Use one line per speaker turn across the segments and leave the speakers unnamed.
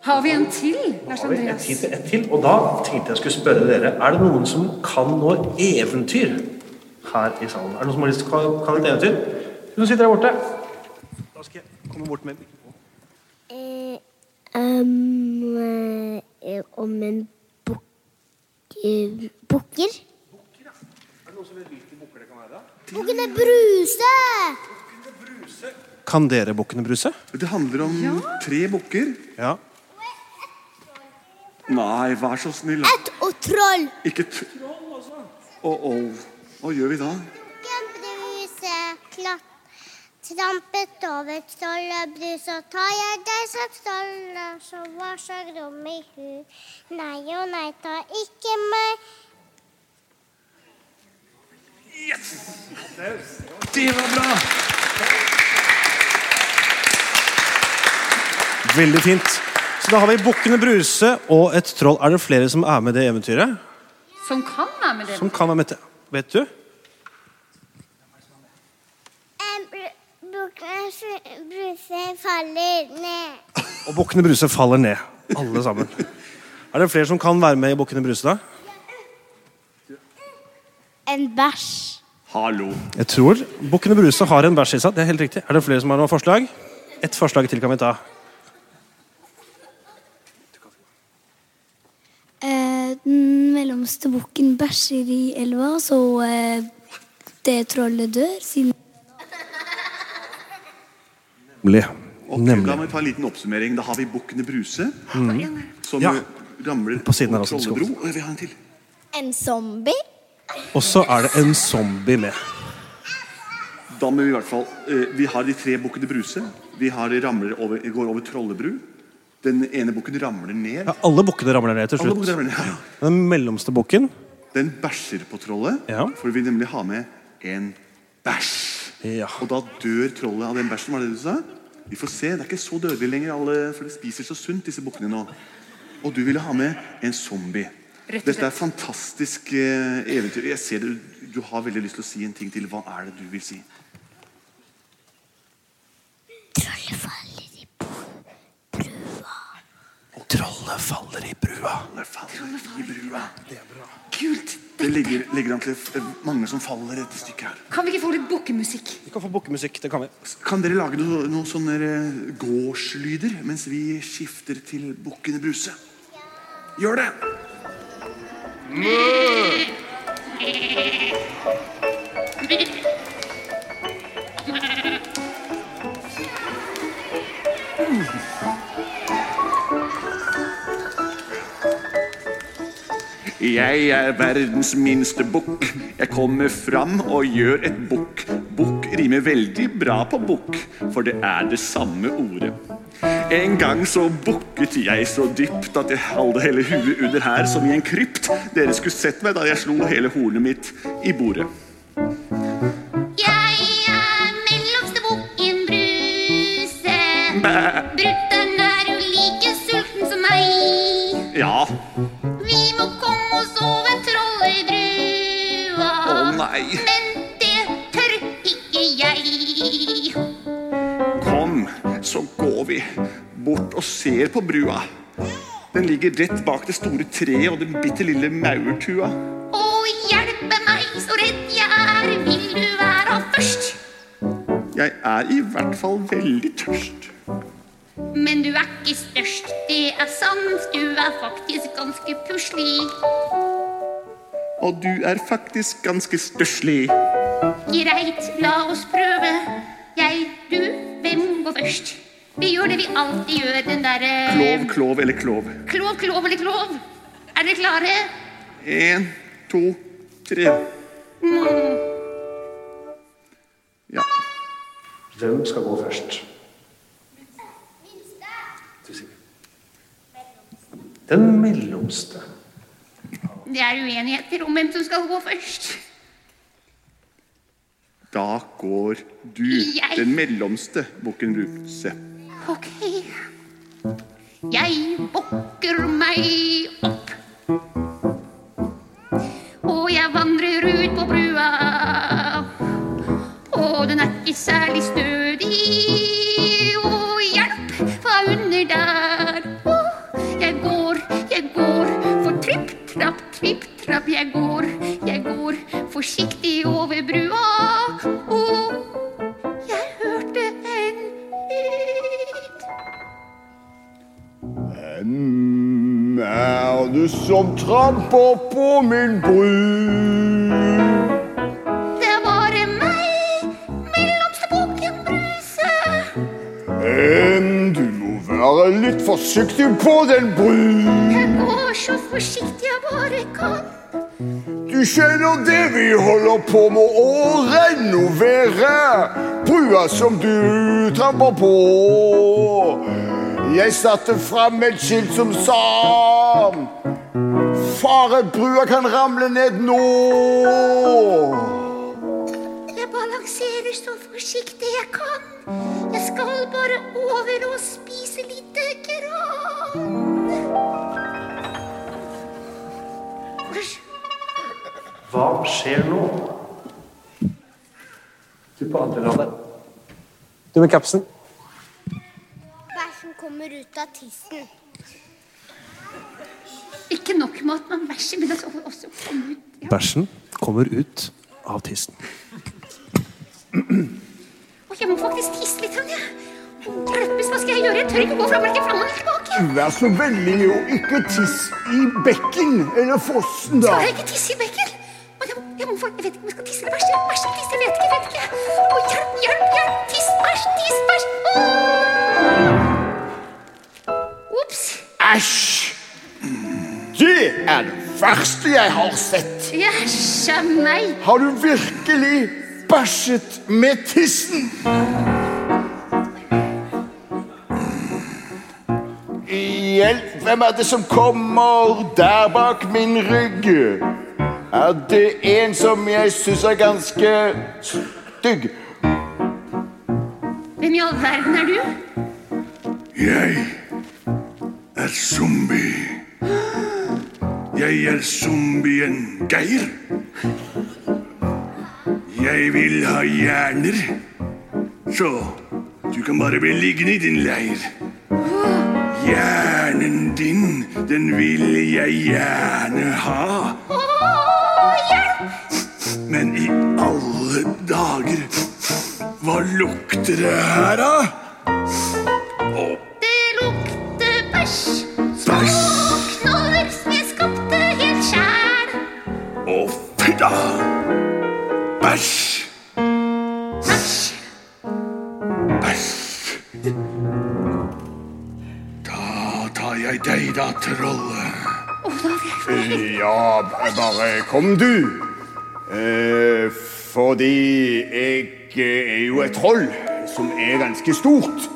Har vi en til, Lars
Har vi et
Andreas?
hit til, et til? Og da tenkte jeg skulle spørre dere Er det noen som kan noe eventyr her i salen? Er det noen som har lyst til å ka- kan et eventyr? Hun sitter der borte. Da skal jeg komme bort med
Eh, em, eh, om en bukk... Eh, bukker? Bukkene Bruse!
Kan dere Bukkene Bruse?
Det handler om tre bukker.
Ja.
Nei, vær så snill. da.
Et og troll.
Ikke t... Åh, åh. Hva gjør vi da?
Bukken Bruse klatt, trampet over trollet Brus, og tar jeg deg som trollet, så var så grom i hu. Nei og nei, ta ikke meg.
Det var bra! Veldig fint. Så da har vi Bukkene Bruse og et troll. Er det flere som er med i det eventyret?
Som kan være med det.
Som kan være med til Vet du?
Em, bru- Bukken Bruse faller ned.
Og Bukkene Bruse faller ned. Alle sammen. Er det flere som kan være med i Bukkene Bruse, da?
En bæsj.
Hallo.
Jeg tror Bukkene Bruse har en bæsj i seg. Det er helt riktig. Er det flere som har noen forslag? Ett forslag til kan vi ta.
Eh, den mellomste bukken bæsjer i elva, så eh, det trollet dør. Siden
Nemlig.
Ok, La meg ta en liten oppsummering. Da har vi Bukkene Bruse, som
Ja.
eh, ramler
På siden her
over
også, det skal
Trollebro. Og jeg vil ha en til.
En zombie?
Og så er det en zombie med.
Da må vi i hvert fall eh, Vi har de tre Bukkene Bruse. Vi har ramler over, går over Trollebru. Den ene bukken ramler ned.
Ja, alle bukkene ramler ned til
Alle
slutt.
bukkene ramler ned. Ja, ja.
Den mellomste bukken
Den bæsjer på trollet,
Ja.
for vi vil nemlig ha med en bæsj.
Ja.
Og da dør trollet av den bæsjen, var det det du sa? Vi får se, det er ikke så dødelig lenger, alle, for de spiser så sunt, disse bukkene nå. Og du ville ha med en zombie.
Rett og
Dette er
slett.
fantastisk eh, eventyr. Jeg ser det, du har veldig lyst til å si en ting til. Hva er det du vil si?
Trollet faller i
Trollet faller i brua.
Når faller i brua. Det er bra. Kult! Det ligger, ligger an til eh, mange som faller i dette stykket her.
Kan vi ikke få litt bukkemusikk?
Vi kan få bukkemusikk. Det kan vi.
Kan dere lage noen noe sånne eh, gårdslyder mens vi skifter til Bukkene Bruse? Gjør det! Jeg er verdens minste bukk. Jeg kommer fram og gjør et bukk. Bukk rimer veldig bra på bukk, for det er det samme ordet. En gang så bukket jeg så dypt at jeg hadde hele huet under her som i en krypt. Dere skulle sett meg da jeg slo hele hornet mitt i bordet.
Jeg er mellomste bukken Bruse. Brutter'n er jo like sulten som meg.
Ja.
Vi må komme oss over trollet i brua.
Å nei.
Men det tør ikke jeg.
Kom, så går vi bort og ser på brua. Den ligger rett bak det store treet og den bitte lille maurtua.
Å, hjelpe meg, så redd jeg er. Vil du være først?
Jeg er i hvert fall veldig tørst.
Men du er ikke størst, det er sant. Du er faktisk ganske puslig.
Og du er faktisk ganske stusslig.
Greit, la oss prøve. Jeg, du, hvem går først? Vi gjør det vi alltid gjør, den derre
Klov, klov eller klov.
klov, klov eller klov. Er dere klare?
Én, to, tre. Ja.
Hvem skal gå først? Du sier. Den mellomste.
Det er uenigheter om hvem som skal gå først.
Da går du,
Jeg-
den mellomste bukken Bruse.
Ok. Jeg bukker meg opp. Og jeg vandrer ut på brua. Og den er ikke særlig stødig. Og hjelp, hva er under der? Åh,
Hvem er det som tramper på min bru?
Det var meg, mellomstebukken Bruse.
Em, Du må være litt forsiktig på den bru.
Jeg går så forsiktig jeg bare kan.
Du skjønner det vi holder på med å renovere brua som du tramper på. Jeg satte fram et skilt som sa Fare, brua kan ramle ned nå.
Jeg balanserer så forsiktig jeg kan. Jeg skal bare over og spise lite gran.
Hva skjer nå? Du på andre landet. Du med kapsen.
Bæsjen kommer ut av tissen.
Ikke nok med at man bæsjer, men at det også kommer ut. Ja.
Bæsjen kommer ut av tissen.
Og jeg må faktisk tisse litt. Anja. Greppes, hva skal jeg gjøre? Jeg tør ikke gå fra hverken fram eller tilbake.
Vær så vennlig å ikke tisse i bekken eller fossen, da.
Skal jeg ikke tisse i bekken? Og Jeg, må- jeg, må, få- jeg vet ikke om jeg skal tisse eller bæsje. Bæsje, tisse, jeg vet ikke, jeg vet ikke. Å, hjelp, hjelp, hjelp. Tiss, bæsj, tiss, bæsj. Åh! Ops.
Æsj! Det er det verste jeg har sett.
Jæsja meg.
Har du virkelig bæsjet med tissen? Hjelp, hvem er det som kommer der bak min rygg? Er det en som jeg syns er ganske stygg?
Hvem i all verden er du?
Jeg er zombie. Jeg er zombien Geir. Jeg vil ha hjerner. Så du kan bare bli liggende i din leir. Hjernen din, den vil jeg gjerne ha. Men i alle dager, hva lukter det her, da?
Det lukter bæsj.
Bæsj!
Knoller som jeg skapte helt sjæl.
Å, fy da! Bæsj!
Bæsj.
Bæsj! Da tar jeg deg, da, trollet.
Ja, bare kom du. Eh, fordi jeg eh, er jo et troll som er ganske stort.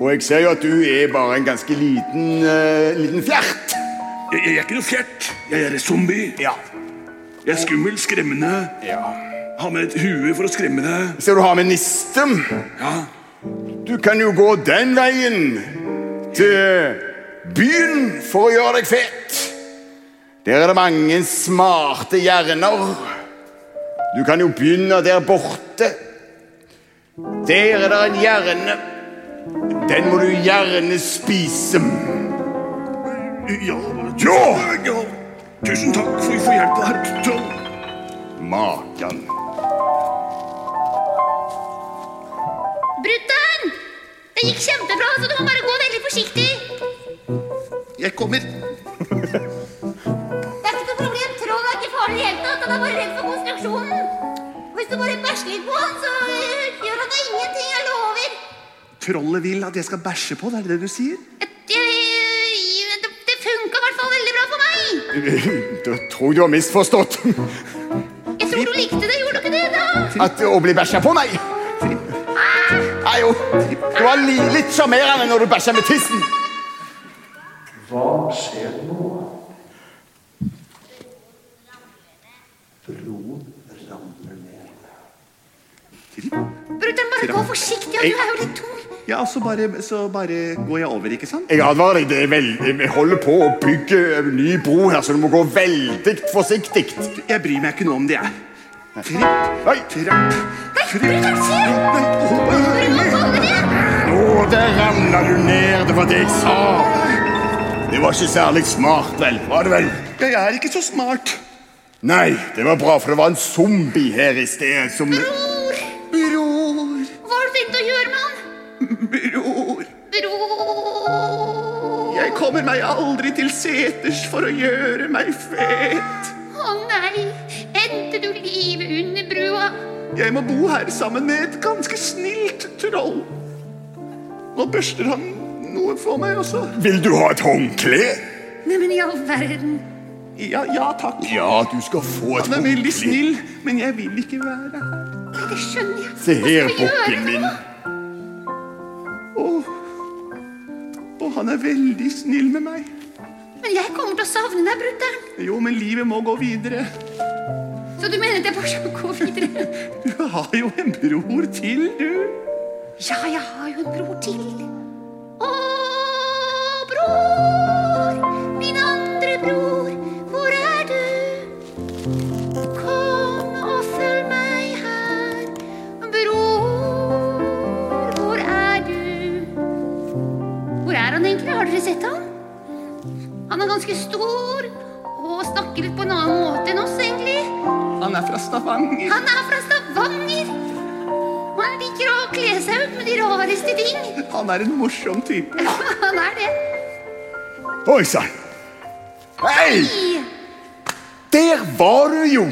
Og jeg ser jo at du er bare en ganske liten, eh, liten fjert.
Jeg, jeg er ikke noe fjert. Jeg er en zombie.
Ja.
Jeg er skummel, skremmende.
ja.
Har med et hue for å skremme deg.
Ser du har med nisten.
Ja.
Du kan jo gå den veien til byen for å gjøre deg fet. Der er det mange smarte hjerner. Du kan jo begynne der borte. Der er det en hjerne. Den må du gjerne spise.
Ja! tusen- ja. Tusen takk for, for hjelpa, herr troll.
Makan.
Brutter'n! Det gikk kjempebra, så du må bare gå veldig forsiktig.
Jeg kommer.
Det er ikke noe problem. Troll er ikke farlig i det hele tatt. Han er bare redd for konstruksjonen. Hvis du bare bæsjer litt på han, så eh, gjør han deg ingenting. Jeg lover.
Trollet vil at jeg skal bæsje på, det er det du sier?
Et- jeg- Det, det funka i hvert fall veldig bra for meg.
Da tror jeg du har misforstått
Jeg tror du likte det. Gjorde du ikke det, da?
at å bli bæsja på, nei. Nei, jo. Det var li- litt sjarmerende når du bæsja med tissen.
Hva skjer nå? Broen ramler ned.
Brutter'n, bare gå forsiktig. Ja, du er jo litt tung.
Ja, så bare, så bare går jeg over, ikke sant?
Jeg advarer deg, det er vel- vi holder på å bygge en ny bro her, så du må gå veldig forsiktig.
Jeg bryr meg ikke noe om det, jeg. Tripp,
Oi,
trapp, tripp.
Brutter'n, se! Du må holde igjen.
nå der ramla du ned, det var det jeg sa. Det var ikke særlig smart, vel? Var det vel?
Jeg er ikke så smart.
Nei, det var bra, for det var en zombie her i sted som
Bror,
Bror,
hva har du tenkt å gjøre med han?
bror.
Bror
Jeg kommer meg aldri til seters for å gjøre meg fet.
Å nei, endte du livet under brua?
Jeg må bo her sammen med et ganske snilt troll. Nå børster han noe for meg også.
Vil du ha et håndkle?
Neimen, i all verden.
Ja, ja takk.
Ja, du skal få et
Han er veldig
håndkle.
snill, men jeg vil ikke være her.
Nei, det skjønner jeg.
Se her,
Hva skal jeg
bukken
gjøre
min.
nå?
Og, og han er veldig snill med meg.
Men jeg kommer til å savne deg, brutter'n.
Jo, men livet må gå videre.
Så du mener at jeg bare skal gå videre?
Du har jo en bror til, du.
Ja, jeg har jo en bror til. Å, bror, min andre bror, hvor er du? Kom og følg meg her. Bror, hvor er du? Hvor er han egentlig? Har dere sett han? Han er ganske stor og snakker litt på en annen måte enn oss, egentlig.
Han er fra Stavanger.
Han er fra Stavanger. Og han liker å kle seg ut med de rareste ting.
Han er en morsom type.
Han er det.
Oi sann. Hei! Der var du jo!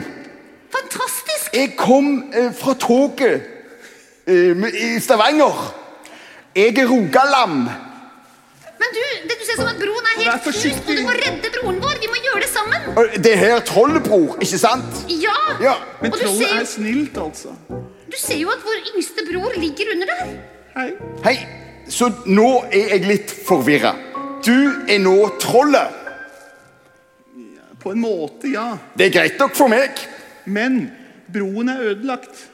Fantastisk.
Jeg kom eh, fra toget eh, med- i Stavanger. Jeg er rogaland.
Men du, det du ser som at broen er
Vær
helt knust, og
forsiktig.
du må redde broren vår. Vi må gjøre det sammen.
Og Det her er trollebror, ikke sant?
Ja.
Ja.
Men
Og du ser,
trollet er
jo-
snilt, altså.
du ser jo at vår yngste bror ligger under der.
Hei.
Hei, så nå er jeg litt forvirra. Du er nå trollet.
På en måte, ja.
Det er greit nok for meg.
Men broen er ødelagt.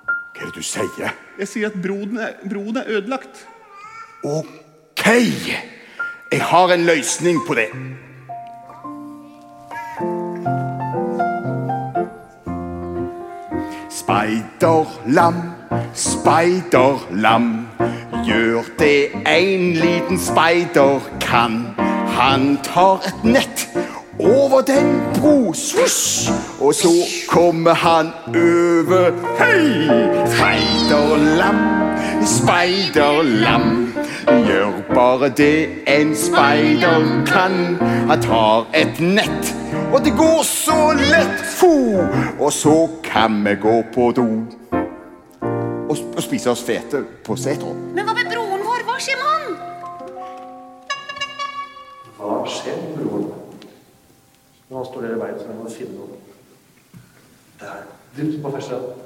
Hva er det du sier?
Jeg sier at broen er, broen er ødelagt.
OK. Jeg har en løsning på det. Speiderlam, speiderlam. Gjør det en liten speider kan. Han tar et nett over den bro, svosj, og så kommer han over. Hei! Speiderlam, speiderlam. Gjør bare det en speider kan. Han tar et nett, og det går så lett, fo! Og så kan vi gå på do. Og, og spise oss fete på setra.
Men hva med broren vår? Hva skjer med han?
Hva skjer med broren? Nå står dere i veien, så jeg må finne noen. Der. Du på første rad.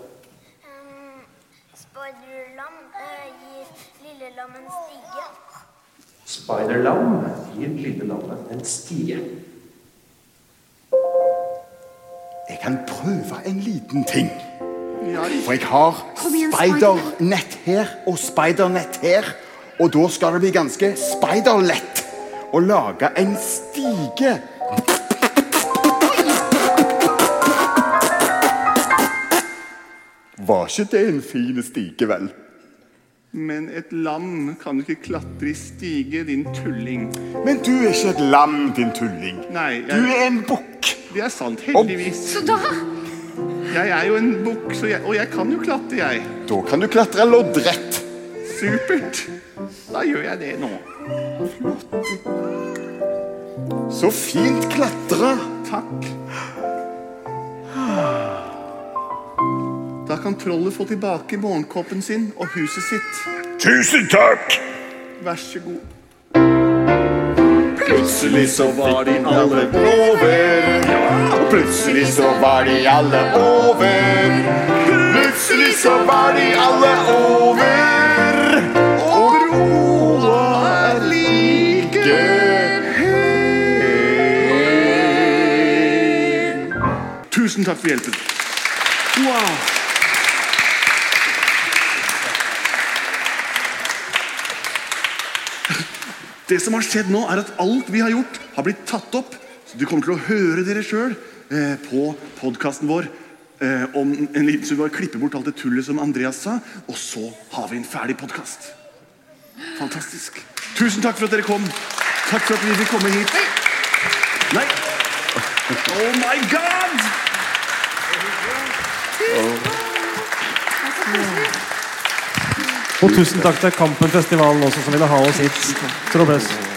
Speiderlam
eh,
gir lillelam en stige.
Spiderlam gir lille lammet en stie.
Jeg kan prøve en liten ting.
Ja,
For jeg har
Kom igjen,
speidernett her og speidernett her. Og da skal det bli ganske speiderlett å lage en stige. Var ikke det en fin stige, vel?
Men et lam kan jo ikke klatre i stige, din tulling.
Men du er ikke et lam, din tulling.
Nei, jeg-
Du er en bukk.
Det er sant, heldigvis.
Så da
Jeg er jo en bukk, så jeg- og jeg kan jo klatre, jeg.
Da kan du klatre loddrett.
Supert. Da gjør jeg det nå.
Så fint klatra.
Takk. Da kan trollet få tilbake morgenkåpen sin og huset sitt.
Tusen takk!
Vær så god.
Plutselig så var de alle over. Og plutselig så var de alle over. Plutselig så var de alle over. Og broa er like høy.
Tusen takk for hjelpen. Wow. Det som har skjedd nå, er at alt vi har gjort, har blitt tatt opp. Så du kommer til å høre dere sjøl eh, på podkasten vår eh, om en liten stund. Vi bare klipper bort alt det tullet som Andreas sa, og så har vi en ferdig podkast. Fantastisk. Tusen takk for at dere kom. Takk for at vi fikk komme hit. Nei. Oh my God!
Og tusen takk til Kampen festivalen også, som ville ha oss hit. Trådløs.